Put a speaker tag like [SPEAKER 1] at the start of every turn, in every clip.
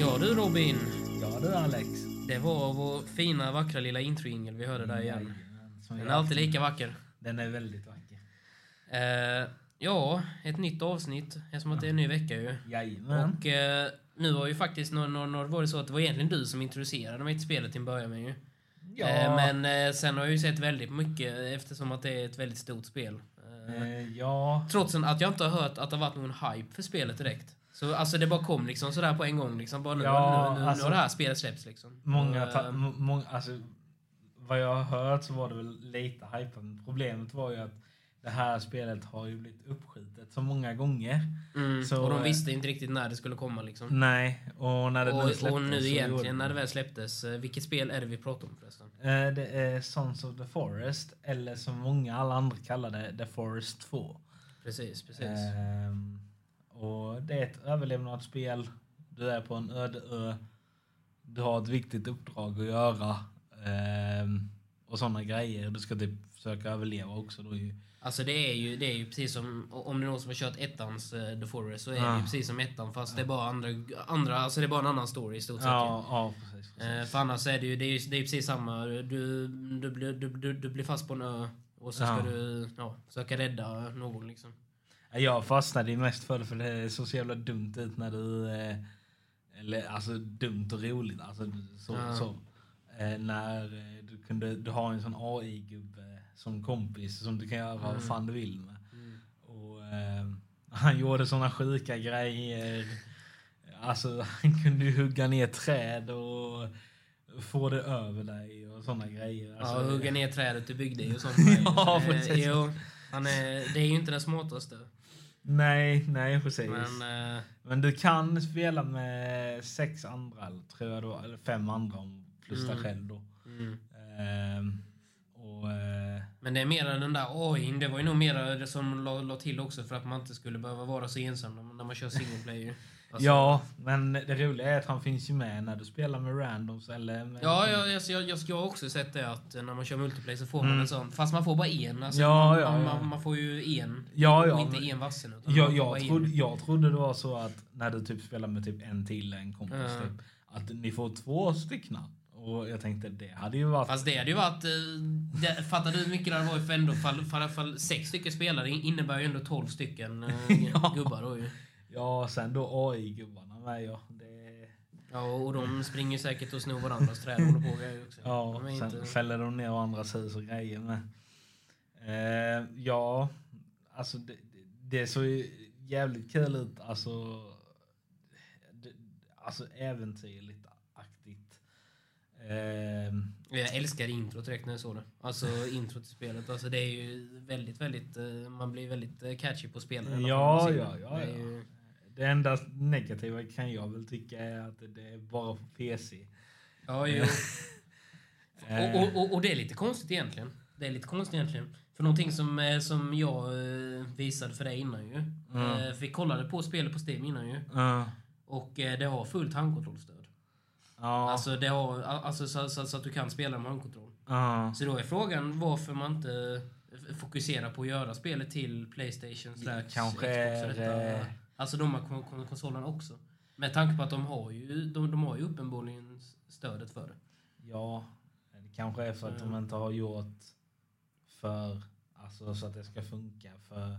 [SPEAKER 1] Ja du Robin,
[SPEAKER 2] Ja du Alex.
[SPEAKER 1] det var vår fina vackra lilla introingel vi hörde där
[SPEAKER 2] Mm.
[SPEAKER 1] igen.
[SPEAKER 2] Jajamän, som
[SPEAKER 1] Den är
[SPEAKER 2] jag-
[SPEAKER 1] alltid lika vacker.
[SPEAKER 2] Den är väldigt vacker.
[SPEAKER 1] Eh, ja, ett nytt avsnitt eftersom att det är en ny vecka ju.
[SPEAKER 2] Jajamän.
[SPEAKER 1] Och eh, nu var ju faktiskt när, när, när var det så att det var egentligen du som introducerade mig till spelet till en början med ju.
[SPEAKER 2] Ja.
[SPEAKER 1] Eh, men eh, sen har jag ju sett väldigt mycket eftersom att det är ett väldigt stort spel. Eh,
[SPEAKER 2] Eh, ja.
[SPEAKER 1] trots att jag inte har hört att det har varit någon hype för spelet direkt. Så alltså det bara kom liksom sådär på en gång liksom. Bara nu,
[SPEAKER 2] Ja,
[SPEAKER 1] nu, nu,
[SPEAKER 2] alltså-
[SPEAKER 1] nu har det här spelet släppts liksom.
[SPEAKER 2] Många,
[SPEAKER 1] Och,
[SPEAKER 2] ta,
[SPEAKER 1] eh,
[SPEAKER 2] m- många, alltså, vad jag har hört så var det väl lite hype. men Problemet var ju att det här spelet har ju blivit uppskjutet så många gånger.
[SPEAKER 1] Mm,
[SPEAKER 2] Så,
[SPEAKER 1] och de
[SPEAKER 2] eh,
[SPEAKER 1] visste inte riktigt när det skulle komma liksom.
[SPEAKER 2] Nej, och när det nu
[SPEAKER 1] Och,
[SPEAKER 2] släpptes
[SPEAKER 1] och nu
[SPEAKER 2] så gjorde
[SPEAKER 1] egentligen när det
[SPEAKER 2] de-
[SPEAKER 1] väl släpptes, eh, vilket spel är det vi pratar om förresten?
[SPEAKER 2] Eh, Det är Sons of the Forest, eller som många alla andra kallar det, The Forest 2.
[SPEAKER 1] Precis, precis.
[SPEAKER 2] Ehm, och det är ett överlevnadsspel. Du är på en öde ö. Du har ett viktigt uppdrag att göra. Ehm, och sådana grejer. Du ska typ försöka överleva också. Då ju.
[SPEAKER 1] Alltså det är, ju, det är ju precis som, om det är någon som har kört ettans eh, The Forest så är det
[SPEAKER 2] Ah.
[SPEAKER 1] ju precis som ettan fast det är bara andra, andra alltså det är bara en annan story i stort sett. ju.
[SPEAKER 2] Ja, ja, precis.
[SPEAKER 1] Eh,
[SPEAKER 2] precis.
[SPEAKER 1] för annars är det ju, det är, ju- det är precis samma, du, du, blir- du, du, du blir fast på en ö och så ska
[SPEAKER 2] Ja.
[SPEAKER 1] du ja, söka rädda någon liksom.
[SPEAKER 2] Jag fastnade ju mest för det för det såg så jävla dumt ut när du... Eh, eller alltså dumt och roligt. Alltså, så,
[SPEAKER 1] Ja.
[SPEAKER 2] så. Eh, när eh, du, kunde, du har en sån AI-gubbe som kompis som du kan göra
[SPEAKER 1] Mm.
[SPEAKER 2] vad fan du vill med. Och, eh, han gjorde såna sjuka grejer. Alltså han kunde ju hugga ner träd och få det över dig och såna grejer. Alltså,
[SPEAKER 1] ja, hugga ner trädet du byggde i och sånt.
[SPEAKER 2] Ja,
[SPEAKER 1] Eh,
[SPEAKER 2] precis.
[SPEAKER 1] jo, han är, det är ju inte den smartaste.
[SPEAKER 2] Nej, nej precis.
[SPEAKER 1] Men, eh,
[SPEAKER 2] Men du kan spela med sex andra, eller tror jag då, eller fem andra om plus dig
[SPEAKER 1] Mm.
[SPEAKER 2] själv då.
[SPEAKER 1] mm.
[SPEAKER 2] Ehm, och, eh,
[SPEAKER 1] Men det är mer den där AI, det var ju nog mer det som la, la till också för att man inte skulle behöva vara så ensam när man, när man kör single player. Alltså-
[SPEAKER 2] ja, men det roliga är att han finns ju med när du spelar med randoms eller... Med
[SPEAKER 1] Ja, jag, alltså, jag, jag, jag har också sett det att när man kör multiplayer så får man
[SPEAKER 2] Mm.
[SPEAKER 1] en sån. Fast man får bara en. Alltså,
[SPEAKER 2] Ja,
[SPEAKER 1] man,
[SPEAKER 2] ja,
[SPEAKER 1] man,
[SPEAKER 2] ja.
[SPEAKER 1] Man, man får ju en.
[SPEAKER 2] ja,
[SPEAKER 1] och
[SPEAKER 2] ja,
[SPEAKER 1] inte
[SPEAKER 2] men-
[SPEAKER 1] en vassen. Utan
[SPEAKER 2] jag,
[SPEAKER 1] man får
[SPEAKER 2] jag,
[SPEAKER 1] bara en.
[SPEAKER 2] trodde, jag trodde det var så att när du typ spelar med typ en till, en kompis,
[SPEAKER 1] Ja.
[SPEAKER 2] typ, att ni får två stycken. Och jag tänkte det hade ju varit...
[SPEAKER 1] Fast det hade ju varit... eh, Det, fattar du hur mycket det hade varit för ändå fall, fall, fall, sex stycken spelare innebär ju ändå 12 stycken eh,
[SPEAKER 2] Ja.
[SPEAKER 1] gubbar då ju.
[SPEAKER 2] Ja, sen då AI-gubbarna med ja. Det,
[SPEAKER 1] Ja, och de springer ju säkert och snor varandras träd och håller på och grejer också.
[SPEAKER 2] Ja,
[SPEAKER 1] De är
[SPEAKER 2] sen
[SPEAKER 1] inte-
[SPEAKER 2] fäller de ner andras hus och grejer med. Eh, ja, alltså det, det- det såg ju jävligt kul ut. Alltså, det, alltså äventyrligt aktigt. Eh,
[SPEAKER 1] Jag älskar introt direkt när jag såg det. Alltså introt till spelet. Alltså det är ju väldigt, väldigt... eh, Man blir väldigt eh, catchy på spelen. i alla fall.
[SPEAKER 2] ja,
[SPEAKER 1] Man ser-
[SPEAKER 2] ja, ja,
[SPEAKER 1] det är
[SPEAKER 2] ja.
[SPEAKER 1] ju-
[SPEAKER 2] Det enda negativa kan jag väl tycka är att det är bara för PC.
[SPEAKER 1] Ja, jo.
[SPEAKER 2] Eh.
[SPEAKER 1] och, och, och, och det är lite konstigt egentligen. Det är lite konstigt egentligen. För någonting som, eh, som jag eh, visade för dig innan ju.
[SPEAKER 2] Mm.
[SPEAKER 1] Eh, för vi kollade på spelet på Steam innan ju.
[SPEAKER 2] Ja.
[SPEAKER 1] Och eh, det har fullt handkontrollstöd.
[SPEAKER 2] Ja.
[SPEAKER 1] Alltså, det har, alltså så, så, så att du kan spela med handkontroll.
[SPEAKER 2] ja.
[SPEAKER 1] Så då är frågan varför man inte f- fokuserar på att göra spelet till Playstation slash
[SPEAKER 2] kanske
[SPEAKER 1] Xbox och
[SPEAKER 2] är,
[SPEAKER 1] detta.
[SPEAKER 2] eh,
[SPEAKER 1] Alltså de här kon- kon- konsolerna också. Med tanke på att de har ju, de, de har ju uppenbarligen stödet för det.
[SPEAKER 2] Ja, det kanske är för att
[SPEAKER 1] Mm.
[SPEAKER 2] de inte har gjort för, alltså så att det ska funka för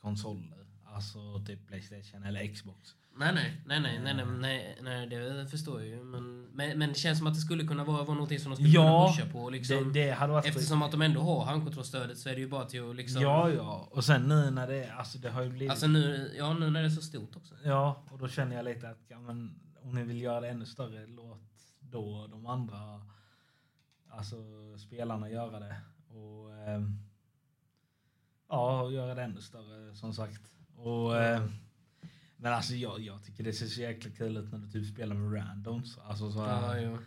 [SPEAKER 2] konsoler. Alltså typ Playstation eller Xbox.
[SPEAKER 1] Nej, nej, nej, nej, nej, nej,
[SPEAKER 2] Mm.
[SPEAKER 1] nej, nej det förstår jag ju. Men, men, men det känns som att det skulle kunna vara, vara någonting som de skulle
[SPEAKER 2] Ja,
[SPEAKER 1] kunna pusha på. Liksom.
[SPEAKER 2] det, det hade varit
[SPEAKER 1] Eftersom att de ändå har handkontrollstödet så är det ju bara till att liksom...
[SPEAKER 2] Ja, ja. Och sen nu när det, alltså det har ju blivit...
[SPEAKER 1] Alltså nu, ja, nu när det är så stort också.
[SPEAKER 2] ja, och då känner jag lite att ja, men, om ni vill göra det ännu större, låt då de andra alltså spelarna göra det. Och ehm, ja, och göra det ännu större som sagt. Och, ehm, men alltså jag, jag tycker det ser så jäkla kul ut när du typ spelar med randoms. Alltså, så
[SPEAKER 1] Ja,
[SPEAKER 2] här,
[SPEAKER 1] jo.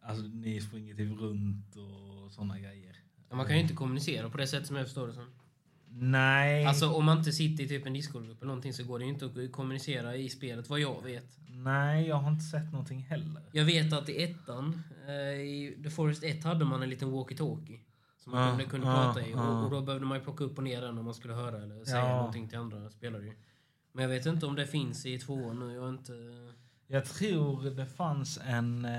[SPEAKER 2] alltså ni springer typ runt och sådana grejer.
[SPEAKER 1] Ja, Man kan ju inte kommunicera på det sättet som jag förstår det som.
[SPEAKER 2] Nej.
[SPEAKER 1] Alltså om man inte sitter i typ en Discord-grupp eller någonting så går det ju inte att kommunicera i spelet vad jag vet.
[SPEAKER 2] Nej, jag har inte sett någonting heller.
[SPEAKER 1] Jag vet att i ettan, eh, i The Forest 1 hade man en liten walkie-talkie. Som man
[SPEAKER 2] Ja,
[SPEAKER 1] kunde, kunde
[SPEAKER 2] ja,
[SPEAKER 1] prata i.
[SPEAKER 2] ja.
[SPEAKER 1] Och, och då behövde man ju plocka upp och ner den om man skulle höra eller säga
[SPEAKER 2] ah, Ja.
[SPEAKER 1] någonting till andra spelare. ju. Men jag vet inte om det finns i tvåan nu. Jag har inte...
[SPEAKER 2] Jag tror det fanns en... eh,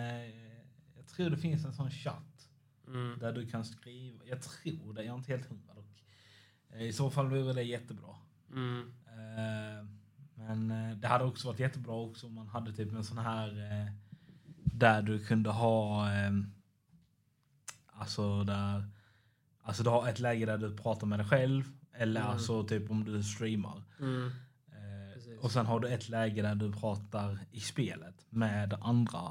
[SPEAKER 2] Jag tror det finns en sån chatt
[SPEAKER 1] Mm.
[SPEAKER 2] där du kan skriva. Jag tror det, jag är inte helt hundra dock. Eh, I så fall vore det jättebra.
[SPEAKER 1] Mm.
[SPEAKER 2] Eh, Men eh, det hade också varit jättebra också om man hade typ en sån här eh, där du kunde ha eh, alltså där alltså du har ett läge där du pratar med dig själv eller
[SPEAKER 1] Mm.
[SPEAKER 2] alltså typ om du streamar.
[SPEAKER 1] Mm.
[SPEAKER 2] Eh,
[SPEAKER 1] Precis.
[SPEAKER 2] Och sen har du ett läge där du pratar i spelet med andra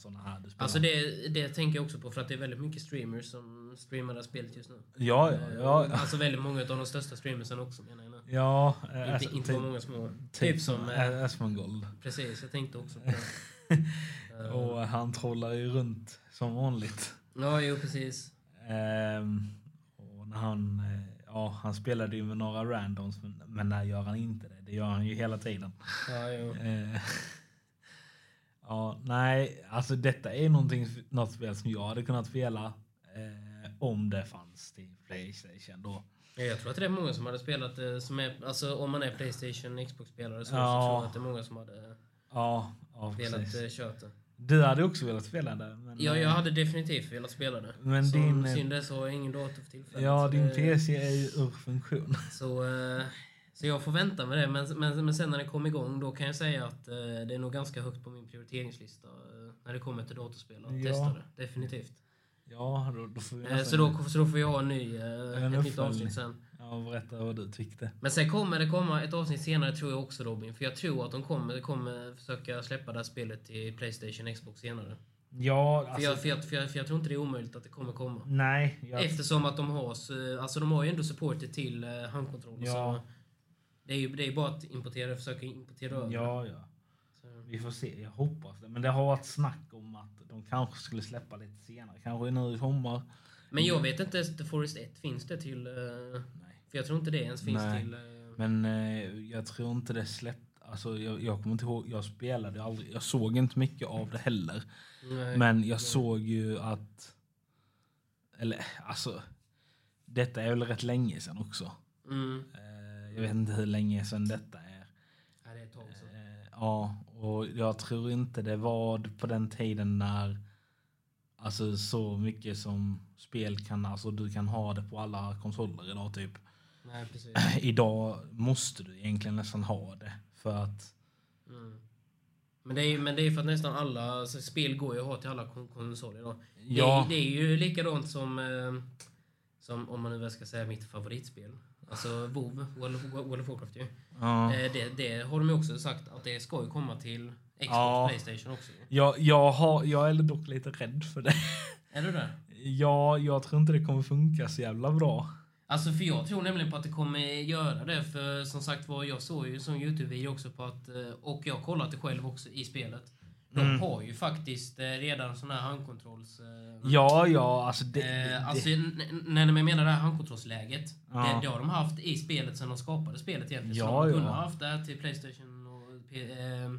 [SPEAKER 2] såna här du spelar.
[SPEAKER 1] Alltså det, det tänker jag också på för att det är väldigt mycket streamers som streamar det här spelet just nu.
[SPEAKER 2] ja, ja, ja.
[SPEAKER 1] Alltså väldigt många av de största streamersen också menar jag nu.
[SPEAKER 2] ja eh,
[SPEAKER 1] Inte,
[SPEAKER 2] alltså,
[SPEAKER 1] inte
[SPEAKER 2] typ-
[SPEAKER 1] bara många små. Typ som... eh,
[SPEAKER 2] eh, Asmongold.
[SPEAKER 1] Precis, jag tänkte också på det. Eh,
[SPEAKER 2] Och han trollar ju runt som vanligt.
[SPEAKER 1] Ja, jo precis.
[SPEAKER 2] Ehm, och när han, eh, ja, han spelade ju med några randoms, men, men när gör han inte det? Det gör han ju hela tiden.
[SPEAKER 1] Ja, jo.
[SPEAKER 2] Eh, ja, nej, alltså detta är någonting, något spel som jag hade kunnat spela eh, om det fanns till Playstation då.
[SPEAKER 1] Ja, Jag tror att det är många som hade spelat eh, som är, alltså om man är Playstation, Xbox-spelare så,
[SPEAKER 2] Ja.
[SPEAKER 1] så tror jag att det är många som hade
[SPEAKER 2] Ja, ja
[SPEAKER 1] velat
[SPEAKER 2] precis.
[SPEAKER 1] eh, kört det.
[SPEAKER 2] Du hade också velat spela det. Men,
[SPEAKER 1] Ja, jag
[SPEAKER 2] eh,
[SPEAKER 1] hade definitivt velat spela det.
[SPEAKER 2] Men
[SPEAKER 1] Som
[SPEAKER 2] din, eh,
[SPEAKER 1] synd är så har jag ingen dator för tillfället.
[SPEAKER 2] ja
[SPEAKER 1] så
[SPEAKER 2] din
[SPEAKER 1] det-
[SPEAKER 2] PC är ju ur funktion.
[SPEAKER 1] Så, eh, så jag får vänta med det. Men, men, men sen när det kom igång då kan jag säga att eh, det är nog ganska högt på min prioriteringslista eh, när det kommer till datorspel och
[SPEAKER 2] Ja.
[SPEAKER 1] testa det. Definitivt.
[SPEAKER 2] Ja, då, då får vi
[SPEAKER 1] Eh,
[SPEAKER 2] nästan-
[SPEAKER 1] så, då, så då får jag en ny, eh,
[SPEAKER 2] en
[SPEAKER 1] ett nytt
[SPEAKER 2] uppföljning.
[SPEAKER 1] avsnitt sen.
[SPEAKER 2] ja, berätta vad du tyckte.
[SPEAKER 1] Men sen kommer det komma ett avsnitt senare tror jag också Robin. För jag tror att de kommer, kommer försöka släppa det här spelet till Playstation Xbox senare.
[SPEAKER 2] Ja, alltså,
[SPEAKER 1] För, jag, för, jag, för, jag, för jag tror inte det är omöjligt att det kommer komma.
[SPEAKER 2] Nej, jag,
[SPEAKER 1] Eftersom att de har, så- alltså de har ju ändå supporter till eh, handkontroller.
[SPEAKER 2] Ja.
[SPEAKER 1] Så det är ju det är bara att importera, försöka importera över.
[SPEAKER 2] ja, ja.
[SPEAKER 1] Så-
[SPEAKER 2] Vi får se. Jag hoppas det. Men det har varit snack om att de kanske skulle släppa lite senare. Kanske nu i sommar.
[SPEAKER 1] Men jag vet inte, The Forest 1 finns det till... eh,
[SPEAKER 2] Nej.
[SPEAKER 1] För jag tror inte det ens finns
[SPEAKER 2] Nej.
[SPEAKER 1] till... eh,
[SPEAKER 2] Men eh, jag tror inte det släppt. Alltså, jag, jag kommer inte ihåg. Jag spelade aldrig. Jag såg inte mycket av det heller.
[SPEAKER 1] nej.
[SPEAKER 2] Men jag såg ju att... Eller alltså. Detta är väl rätt länge sedan också.
[SPEAKER 1] Mm.
[SPEAKER 2] Eh, jag vet inte hur länge sedan detta är.
[SPEAKER 1] Ja, det är ett tag sedan.
[SPEAKER 2] Eh, Ja, och jag tror inte det var på den tiden när alltså så mycket som spel kan, alltså du kan ha det på alla konsoler idag typ.
[SPEAKER 1] Nej, precis.
[SPEAKER 2] idag måste du egentligen nästan ha det för att
[SPEAKER 1] Mm. Men det, är, ju- men det är för att nästan alla alltså, spel går ju att ha till alla kon- konsoler idag.
[SPEAKER 2] ja,
[SPEAKER 1] Det, är- det är ju likadant som, eh, som, om man nu väl ska säga mitt favoritspel. Alltså WoW, World of, World of Warcraft ju.
[SPEAKER 2] ja.
[SPEAKER 1] Eh, det, det har de ju också sagt att det ska ju komma till Xbox
[SPEAKER 2] Ja.
[SPEAKER 1] och Playstation också. ju.
[SPEAKER 2] jag, jag, har, jag är dock lite rädd för det.
[SPEAKER 1] Är du där?
[SPEAKER 2] ja, jag tror inte det kommer funka så jävla bra.
[SPEAKER 1] Alltså för jag tror nämligen på att det kommer göra det. För som sagt var, jag såg ju som Youtube-video också på att, eh, och jag har kollat det själv också i spelet. De
[SPEAKER 2] Mm.
[SPEAKER 1] har ju faktiskt eh, redan sån här handkontrolls... eh,
[SPEAKER 2] Ja, ja, alltså det... det-
[SPEAKER 1] Eh, alltså, n- n- när jag menar det här handkontrollsläget.
[SPEAKER 2] Ja.
[SPEAKER 1] Det, det har de haft i spelet sen de skapade spelet egentligen. så
[SPEAKER 2] Ja,
[SPEAKER 1] de
[SPEAKER 2] ja.
[SPEAKER 1] kunde ha haft det här till Playstation och, P- eh,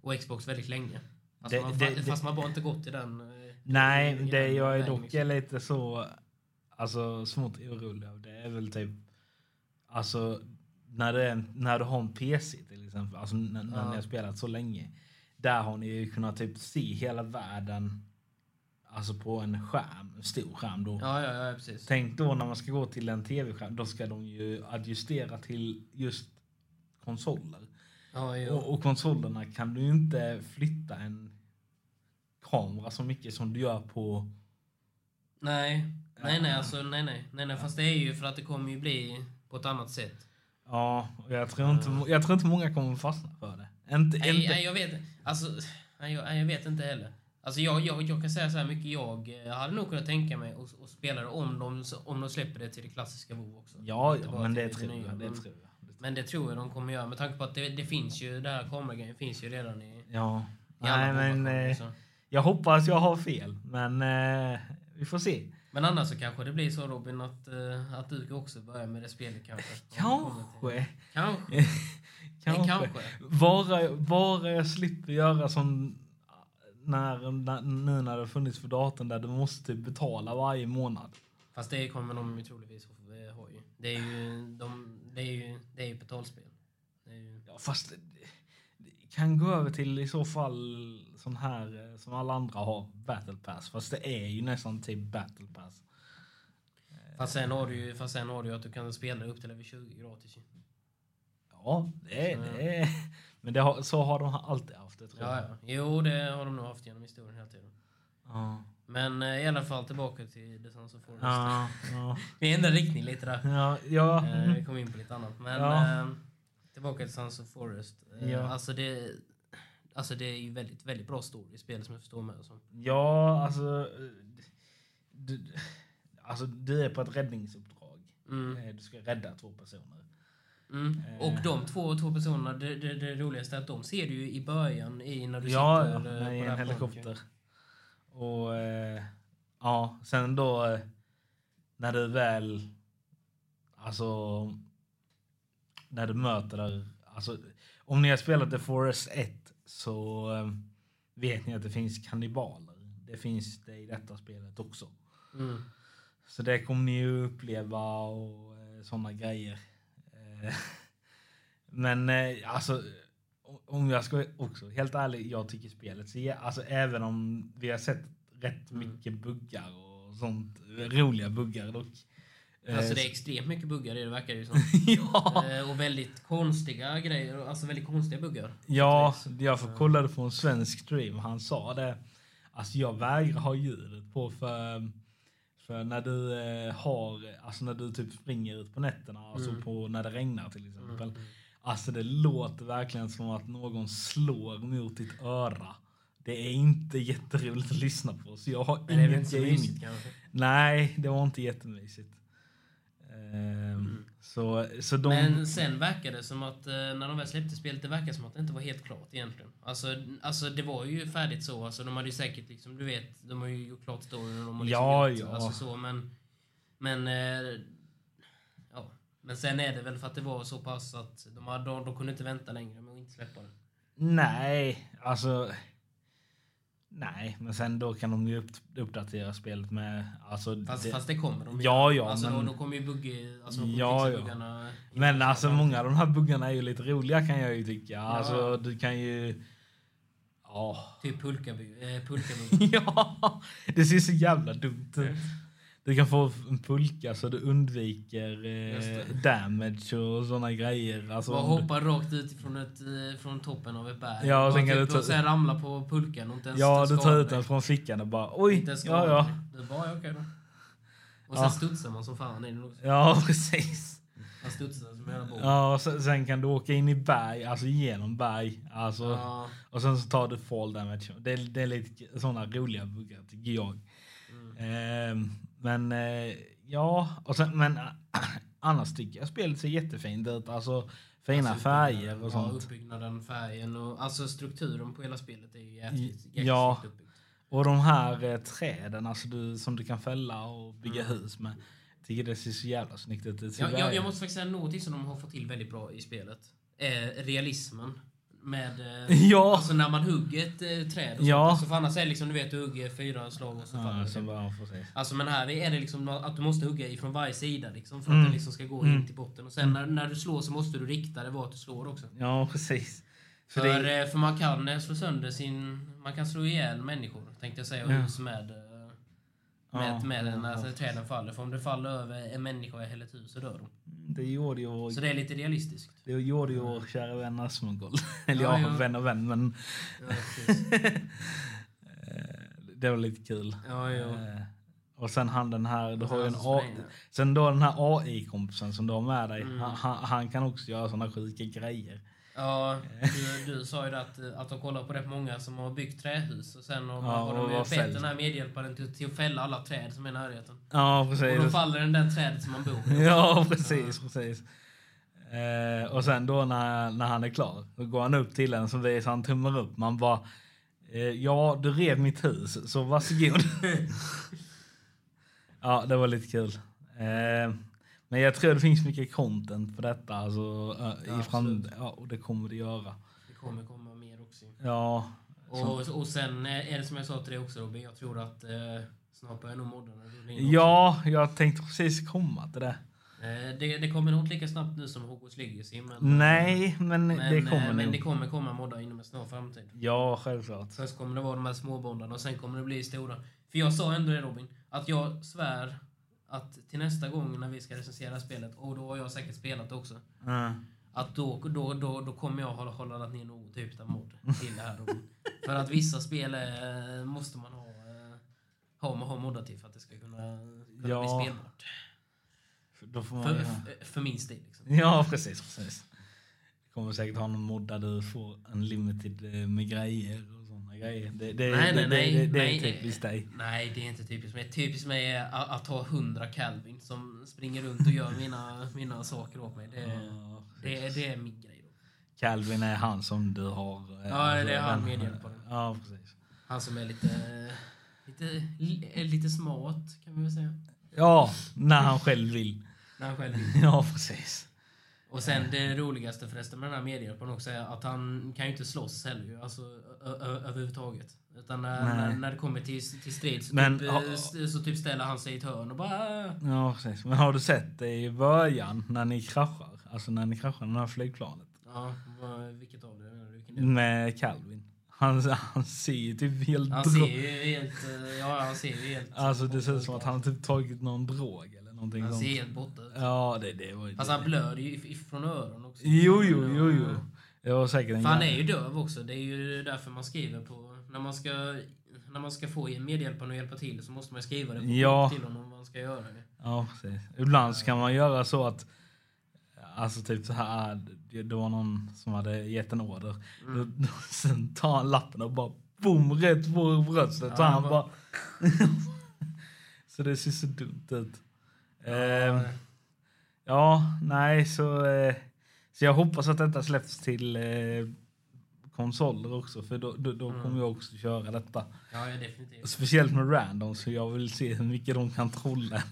[SPEAKER 1] och Xbox väldigt länge. Fast,
[SPEAKER 2] Det-
[SPEAKER 1] man,
[SPEAKER 2] det-
[SPEAKER 1] fa-
[SPEAKER 2] det-
[SPEAKER 1] fast man bara inte gått i den... eh,
[SPEAKER 2] Nej,
[SPEAKER 1] i
[SPEAKER 2] det
[SPEAKER 1] den
[SPEAKER 2] jag är
[SPEAKER 1] vägen,
[SPEAKER 2] dock är lite så alltså, smått orolig av det är väl typ alltså när, det är, när du har en PC till exempel, alltså när, när
[SPEAKER 1] Ja.
[SPEAKER 2] ni har spelat så länge. Där har ni ju kunnat typ se hela världen alltså på en skärm, en stor skärm då.
[SPEAKER 1] Ja, ja, ja, precis.
[SPEAKER 2] Tänk då när man ska gå till en tv-skärm, då ska de ju adjustera till just konsoler.
[SPEAKER 1] Ja, jo.
[SPEAKER 2] Och, och konsolerna kan du ju inte flytta en kamera så mycket som du gör på
[SPEAKER 1] Nej. Nej,
[SPEAKER 2] Ja.
[SPEAKER 1] nej, alltså, nej, nej, nej, nej. Fast det är ju för att det kommer ju bli på ett annat sätt.
[SPEAKER 2] Ja, och jag tror inte, jag tror inte många kommer fastna för det. Inte,
[SPEAKER 1] Nej,
[SPEAKER 2] inte.
[SPEAKER 1] nej, jag vet Alltså, nej, jag, nej, jag vet inte heller. Alltså, jag, jag, jag kan säga så här mycket. Jag eh, hade nog kunnat tänka mig att, att spela det om de, om de släpper det till det klassiska WoW också.
[SPEAKER 2] Ja,
[SPEAKER 1] Inte
[SPEAKER 2] ja,
[SPEAKER 1] bara
[SPEAKER 2] men
[SPEAKER 1] till
[SPEAKER 2] det tror
[SPEAKER 1] nya,
[SPEAKER 2] jag. Det
[SPEAKER 1] men-
[SPEAKER 2] tror jag.
[SPEAKER 1] Men det tror jag de kommer göra med tanke på att det, det finns ju, det här kameragrejen finns ju redan i, i
[SPEAKER 2] Ja.
[SPEAKER 1] alla
[SPEAKER 2] Nej, men
[SPEAKER 1] konversationer,
[SPEAKER 2] eh,
[SPEAKER 1] så.
[SPEAKER 2] jag hoppas jag har fel, men eh, vi får se.
[SPEAKER 1] Men annars så kanske det blir så Robin att, eh, att du också börjar med det spelet kanske. Om det kommer till-
[SPEAKER 2] Kanske.
[SPEAKER 1] Kanske.
[SPEAKER 2] Kanske.
[SPEAKER 1] Nej, kanske.
[SPEAKER 2] Bara, bara jag slipper göra som när, när, nu när det har funnits för datorn där du måste typ betala varje månad.
[SPEAKER 1] Fast det kommer de ju troligtvis att eh, ha ju. Det är ju, de, det är ju, det är ju betalspel. Det är ju,
[SPEAKER 2] Ja, fast det- det- kan gå över till i så fall sån här eh, som alla andra har, battle pass. Fast det är ju nästan typ battle pass.
[SPEAKER 1] Fast sen har du ju fast sen har du ju att du kan spela upp till över 20 gratis. ju.
[SPEAKER 2] Ja, det är det. är- Men det har, så har de alltid haft det tror jag.
[SPEAKER 1] Ja, ja. Jo, det har de nog haft genom historien hela tiden.
[SPEAKER 2] Ja.
[SPEAKER 1] Men eh, i alla fall tillbaka till The Sons of Forest.
[SPEAKER 2] Ja, ja.
[SPEAKER 1] Vi ändrar riktning lite där.
[SPEAKER 2] ja, ja.
[SPEAKER 1] Eh, Vi kom in på lite annat. Men
[SPEAKER 2] Ja.
[SPEAKER 1] eh, tillbaka till Sons of Forest. Eh,
[SPEAKER 2] Ja.
[SPEAKER 1] Alltså det... Alltså det är ju väldigt, väldigt bra story i spel som jag förstår med. och så.
[SPEAKER 2] ja alltså, eh, du, alltså. Du är på ett räddningsuppdrag.
[SPEAKER 1] Mm.
[SPEAKER 2] Eh, Du ska rädda två personer.
[SPEAKER 1] Mm.
[SPEAKER 2] Eh.
[SPEAKER 1] Och de två, två personerna, det, det, det roligaste är att de ser du ju i början i, när du
[SPEAKER 2] Ja,
[SPEAKER 1] sitter
[SPEAKER 2] ja,
[SPEAKER 1] eh, på
[SPEAKER 2] med
[SPEAKER 1] det
[SPEAKER 2] en
[SPEAKER 1] här
[SPEAKER 2] helikopter.
[SPEAKER 1] planet.
[SPEAKER 2] Och eh, ja, sen då eh, när du väl, alltså när du möter där, alltså om ni har spelat The Forest 1 så eh, vet ni att det finns kannibaler. Det finns det i detta spelet också.
[SPEAKER 1] Mm.
[SPEAKER 2] Så det kommer ni ju uppleva och eh, sådana grejer. Eh, Men eh, alltså, o- om jag ska också helt ärlig, jag tycker spelet ser, jä- alltså även om vi har sett rätt
[SPEAKER 1] Mm.
[SPEAKER 2] mycket buggar och sånt, roliga buggar dock. Eh,
[SPEAKER 1] Alltså det är extremt mycket buggar i det verkar det ju som.
[SPEAKER 2] ja,
[SPEAKER 1] Eh, Och väldigt konstiga grejer, alltså väldigt konstiga buggar.
[SPEAKER 2] ja, jag får kollade på en svensk stream, han sa det. Alltså jag vägrar ha ljudet på för, för när du eh, har, alltså när du typ springer ut på nätterna, alltså
[SPEAKER 1] Mm.
[SPEAKER 2] på när det regnar till exempel.
[SPEAKER 1] Mm.
[SPEAKER 2] Alltså det låter verkligen som att någon slår mot ditt öra. Det är inte jätteroligt att lyssna på så jag har
[SPEAKER 1] Men det är väl inte
[SPEAKER 2] inget
[SPEAKER 1] så
[SPEAKER 2] gaming.
[SPEAKER 1] mysigt kanske.
[SPEAKER 2] Nej, det var inte jättemysigt. Ehm, så, så de...
[SPEAKER 1] Mm. Men sen verkar det som att eh, när de väl släppte spelet, det verkar som att det inte var helt klart egentligen. Alltså, alltså det var ju färdigt så, alltså de hade ju säkert liksom, du vet, de har ju gjort klart storyn och de har liksom
[SPEAKER 2] Ja,
[SPEAKER 1] gjort,
[SPEAKER 2] ja.
[SPEAKER 1] alltså så, men... Men... eh, Ja. Men sen är det väl för att det var så pass att de, hade, de, de kunde inte vänta längre med att inte släppa det.
[SPEAKER 2] Nej, alltså... Nej, men sen då kan de ju upp, uppdatera spelet med... Alltså,
[SPEAKER 1] Fast
[SPEAKER 2] det,
[SPEAKER 1] det, fast det kommer de ju.
[SPEAKER 2] Ja, ja,
[SPEAKER 1] Alltså
[SPEAKER 2] men-
[SPEAKER 1] då, då kommer ju bugg... Alltså de kommer
[SPEAKER 2] Ja,
[SPEAKER 1] fixa
[SPEAKER 2] ja.
[SPEAKER 1] buggarna.
[SPEAKER 2] Men alltså många av de här buggarna är ju lite roliga kan jag ju tycka. Alltså
[SPEAKER 1] Ja.
[SPEAKER 2] du kan ju... Ja.
[SPEAKER 1] Typ pulkabu- eh, pulkabuggar.
[SPEAKER 2] ja, det ser så jävla dumt ut. Du kan få en pulka så du undviker
[SPEAKER 1] Just
[SPEAKER 2] eh,
[SPEAKER 1] det.
[SPEAKER 2] damage och såna grejer. Alltså,
[SPEAKER 1] Bara
[SPEAKER 2] om du-
[SPEAKER 1] hoppa rakt ut från, ett, eh, från toppen av ett berg.
[SPEAKER 2] Ja, och
[SPEAKER 1] och
[SPEAKER 2] sen kan
[SPEAKER 1] typ,
[SPEAKER 2] du ta-
[SPEAKER 1] och sen ramla på pulkan och inte ens
[SPEAKER 2] ja, du
[SPEAKER 1] skada
[SPEAKER 2] tar ut
[SPEAKER 1] dig.
[SPEAKER 2] den från fickan och bara
[SPEAKER 1] Inte
[SPEAKER 2] oj,
[SPEAKER 1] ens skada
[SPEAKER 2] ja, ja.
[SPEAKER 1] dig. Det är bara, ja, okej då. Och
[SPEAKER 2] Ja.
[SPEAKER 1] sen studsar man som fan in också.
[SPEAKER 2] Ja, precis.
[SPEAKER 1] Man studsar som en jävla boll.
[SPEAKER 2] Ja, och sen, sen kan du åka in i berg, alltså genom berg. Alltså,
[SPEAKER 1] Ja.
[SPEAKER 2] Och sen så tar du fall damage. Det, är- det är lite såna roliga buggar tycker jag.
[SPEAKER 1] Mm.
[SPEAKER 2] Ehm, men eh, ja, och sen, men äh, annars tycker jag spelet ser jättefint ut. Alltså fina
[SPEAKER 1] Alltså,
[SPEAKER 2] färger och
[SPEAKER 1] Ja,
[SPEAKER 2] sånt.
[SPEAKER 1] uppbyggnaden, färgen och alltså strukturen på hela spelet är ju
[SPEAKER 2] I-
[SPEAKER 1] jäkligt, jäkligt
[SPEAKER 2] ja.
[SPEAKER 1] snyggt uppbyggt.
[SPEAKER 2] Och de här eh, träden alltså du, som du kan fälla och bygga hus med. Jag tycker det ser så jävla snyggt ut. Det ser
[SPEAKER 1] Jag, jag,
[SPEAKER 2] verkligen-
[SPEAKER 1] Mm. jag måste faktiskt säga någonting som de har fått till väldigt bra i spelet. Eh, realismen. Med, eh,
[SPEAKER 2] Ja.
[SPEAKER 1] Alltså när man hugger ett eh, träd. Och
[SPEAKER 2] Ja.
[SPEAKER 1] sånt. Alltså, för annars är det liksom, du vet, du hugger fyra slag och så faller
[SPEAKER 2] ja,
[SPEAKER 1] det.
[SPEAKER 2] så bara, man får se.
[SPEAKER 1] Alltså men här är det liksom att du måste hugga ifrån varje sida liksom för att
[SPEAKER 2] Mm.
[SPEAKER 1] den liksom ska gå in till botten. Och sen när, när du slår så måste du rikta det vart du slår också.
[SPEAKER 2] ja precis.
[SPEAKER 1] För,
[SPEAKER 2] För det,
[SPEAKER 1] eh, för man kan eh, slå sönder sin... Man kan slå ihjäl människor tänkte jag säga och
[SPEAKER 2] Ja.
[SPEAKER 1] hus med, eh, med,
[SPEAKER 2] Ja,
[SPEAKER 1] med den när
[SPEAKER 2] ja.
[SPEAKER 1] träden faller. För om det faller över en människa eller ett hus så dör de.
[SPEAKER 2] det gjorde ju vår,
[SPEAKER 1] Så det är lite realistiskt.
[SPEAKER 2] det gjorde ju vår kära vän Asmongold. Eller
[SPEAKER 1] Ja,
[SPEAKER 2] ja,
[SPEAKER 1] ja.
[SPEAKER 2] vän och vän men
[SPEAKER 1] Ja, precis.
[SPEAKER 2] eh, det var lite kul.
[SPEAKER 1] ja, ja.
[SPEAKER 2] Eh, Och sen han den här, du
[SPEAKER 1] Och
[SPEAKER 2] har ju en
[SPEAKER 1] sen han
[SPEAKER 2] A-
[SPEAKER 1] som springer.
[SPEAKER 2] sen då den här AI-kompisen som du har med dig,
[SPEAKER 1] Mm.
[SPEAKER 2] han, han, han kan också göra såna sjuka grejer.
[SPEAKER 1] Ja, du, du sa ju det att, eh, att de kollar på rätt många som har byggt trähus och sen har,
[SPEAKER 2] Ja,
[SPEAKER 1] har
[SPEAKER 2] och
[SPEAKER 1] de ju
[SPEAKER 2] vad
[SPEAKER 1] bett
[SPEAKER 2] säljs?
[SPEAKER 1] den här medhjälparen till, till att fälla alla träd som är i närheten.
[SPEAKER 2] Ja,
[SPEAKER 1] Och då
[SPEAKER 2] precis.
[SPEAKER 1] faller den där trädet som man bor i.
[SPEAKER 2] Ja, precis, precis. Eh, och sen då när, när han är klar, då går han upp till en som visar han tummar upp. Man bara, eh, ja du rev mitt hus, så varsågod. ja, det var lite kul. Eh, men jag tror det finns mycket content på detta. Alltså, eh,
[SPEAKER 1] Ja,
[SPEAKER 2] i fram-
[SPEAKER 1] absolut.
[SPEAKER 2] ja, och det kommer det göra.
[SPEAKER 1] Det kommer komma mer också.
[SPEAKER 2] Ja,
[SPEAKER 1] Och, och sen är det som jag sa till dig också Robin, jag tror att eh, snart börjar nog moddarna rulla in.
[SPEAKER 2] ja jag tänkte precis komma till det.
[SPEAKER 1] också. Eh, Det, det kommer nog inte lika snabbt nu som Hogwarts Legacy. Men,
[SPEAKER 2] Nej, men,
[SPEAKER 1] men,
[SPEAKER 2] Mm, det kommer
[SPEAKER 1] eh, Men
[SPEAKER 2] nog.
[SPEAKER 1] det kommer komma moddar inom en snar framtid.
[SPEAKER 2] Ja, självklart.
[SPEAKER 1] Först kommer det vara de här småbondarna och sen kommer det bli stora. För jag sa ändå det Robin, att jag svär att till nästa gång när vi ska recensera spelet, och då har jag säkert spelat det också,
[SPEAKER 2] Mm.
[SPEAKER 1] att då, då, då, då kommer jag hålla, hålla ner någon typ av mod till det här Robin. för att vissa spel eh, måste man ha, eh, ha, ha moddar till för att det ska kunna, kunna
[SPEAKER 2] Ja.
[SPEAKER 1] bli spelbart.
[SPEAKER 2] Då får man
[SPEAKER 1] För,
[SPEAKER 2] göra.
[SPEAKER 1] för, för min stil. Liksom.
[SPEAKER 2] Ja, precis. precis. Du kommer säkert ha någon mod där du får unlimited eh, med grejer och sådana grejer. Det, det,
[SPEAKER 1] Nej,
[SPEAKER 2] det,
[SPEAKER 1] nej, nej.
[SPEAKER 2] det, det, det
[SPEAKER 1] nej,
[SPEAKER 2] är typiskt dig.
[SPEAKER 1] Nej, det är inte typiskt mig. Typiskt mig är att, att ha 100 Calvin som springer runt och gör mina, mina saker åt mig. Det,
[SPEAKER 2] Ja.
[SPEAKER 1] det, det är min grej. Då.
[SPEAKER 2] Eh, Calvin är han som du har... eh,
[SPEAKER 1] Ja,
[SPEAKER 2] alltså,
[SPEAKER 1] det är han
[SPEAKER 2] den-
[SPEAKER 1] medhjälparen.
[SPEAKER 2] Ja, precis.
[SPEAKER 1] Han som är lite, lite, li- är lite smart, kan vi väl säga.
[SPEAKER 2] Ja, när han själv vill.
[SPEAKER 1] När han själv
[SPEAKER 2] Ja, precis.
[SPEAKER 1] Och sen det roligaste förresten med den här medhjälparen också är att han kan ju inte slåss heller ju, alltså ö- ö- överhuvudtaget. Utan när,
[SPEAKER 2] Nej.
[SPEAKER 1] när, när det kommer till, till strid så,
[SPEAKER 2] Men,
[SPEAKER 1] typ,
[SPEAKER 2] ha-
[SPEAKER 1] eh, s- så typ ställer han sig i ett hörn och bara... "Äh."
[SPEAKER 2] Ja, precis. Men har du sett det i början när ni kraschar? Alltså när ni kraschar med det här flygplanet
[SPEAKER 1] Ja, vad- vilket av det? är det? Vilken är det?
[SPEAKER 2] med Calvin. Han, han ser ju typ helt
[SPEAKER 1] Han
[SPEAKER 2] drog-
[SPEAKER 1] ser ju helt... eh, Ja, han ser ju helt...
[SPEAKER 2] Alltså det ser ut som att han har typ tagit någon drog eller någonting
[SPEAKER 1] Han
[SPEAKER 2] sånt.
[SPEAKER 1] ser helt borta ut.
[SPEAKER 2] Ja, det, det var ju...
[SPEAKER 1] Fast han blöder ju if- ifrån öronen också.
[SPEAKER 2] Alltså, Jo, jo, jo, jo. Det var säkert en
[SPEAKER 1] För han
[SPEAKER 2] jävla-
[SPEAKER 1] är ju döv också. Det är ju därför man skriver på... När man ska, när man ska få medhjälparen att hjälpa till så måste man skriva det på
[SPEAKER 2] Ja.
[SPEAKER 1] till honom vad han ska göra. Det.
[SPEAKER 2] Ja, precis. Ibland så kan man göra så att... Alltså typ så här, det, det var någon som hade gett en order. Då, då, sen tar han lappen och bara boom, rätt på bröstet.
[SPEAKER 1] Ja,
[SPEAKER 2] så han
[SPEAKER 1] han
[SPEAKER 2] bara... så det ser så dumt ut. Ja, ja nej, så... Eh, så jag hoppas att detta släpps till eh, konsoler också, för då, då, då kommer jag också köra detta.
[SPEAKER 1] Ja, ja, definitivt.
[SPEAKER 2] Speciellt med random, så jag vill se hur mycket de kan trolla.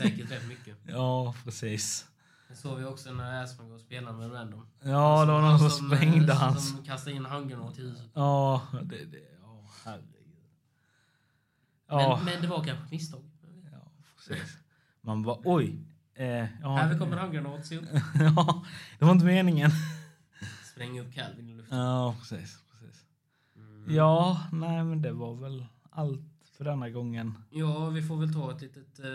[SPEAKER 1] Säkert rätt mycket.
[SPEAKER 2] Ja, precis.
[SPEAKER 1] Det såg vi också när Asmund och spelade med random.
[SPEAKER 2] Ja, det var någon som,
[SPEAKER 1] eh,
[SPEAKER 2] sprängde hans...
[SPEAKER 1] Som kastade in handgranat i huset.
[SPEAKER 2] Ja, det... det ja, herregud. Ja,
[SPEAKER 1] Men, men det var kanske ett misstag.
[SPEAKER 2] ja, precis. Man bara oj. Eh, ja,
[SPEAKER 1] Här kommer en handgranat, se upp.
[SPEAKER 2] ja, det var inte meningen.
[SPEAKER 1] Spräng upp Calvin i luften.
[SPEAKER 2] Ja, precis. precis. Mm. Ja, nej men det var väl allt för denna gången.
[SPEAKER 1] Ja, vi får väl ta ett litet... eh,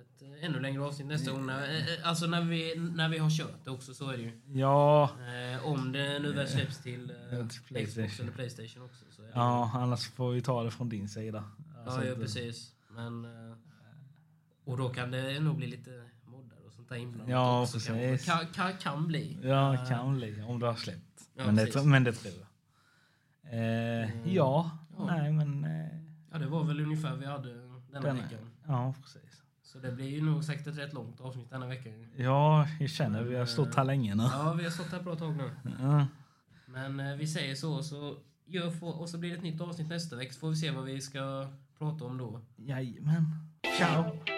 [SPEAKER 1] Ett eh, ännu längre avsnitt nästa gång. När, eh, eh, alltså när vi, när vi har kört det också, så är det ju.
[SPEAKER 2] Ja,
[SPEAKER 1] Eh, om det nu väl släpps till, eh,
[SPEAKER 2] till PlayStation.
[SPEAKER 1] Xbox eller Playstation också. Så är det.
[SPEAKER 2] ja, annars får vi ta det från din sida. Alltså
[SPEAKER 1] ja, ja,
[SPEAKER 2] inte-
[SPEAKER 1] precis. Men, eh, och då kan det nog bli lite moddar och sånt där inblandat
[SPEAKER 2] Ja,
[SPEAKER 1] också. kanske.
[SPEAKER 2] precis.
[SPEAKER 1] Kan, kan, kan bli.
[SPEAKER 2] Ja, kan bli. Om du har släppt.
[SPEAKER 1] Eh. Ja,
[SPEAKER 2] men, det,
[SPEAKER 1] precis. Mm.
[SPEAKER 2] tr- men det tror jag. Eh, ja,
[SPEAKER 1] Ja.
[SPEAKER 2] nej men... Eh,
[SPEAKER 1] Ja, det var väl ungefär vi hade denna
[SPEAKER 2] den-
[SPEAKER 1] veckan.
[SPEAKER 2] ja, precis.
[SPEAKER 1] Så det blir ju nog säkert ett rätt långt avsnitt denna veckan.
[SPEAKER 2] Ja, jag känner vi har stått här länge nu.
[SPEAKER 1] Ja, vi har stått här ett bra tag nu.
[SPEAKER 2] Ja.
[SPEAKER 1] Men eh, vi säger så, så gör få, och så blir det ett nytt avsnitt nästa vecka. Så får vi se vad vi ska prata om då.
[SPEAKER 2] Jajamän. Ciao!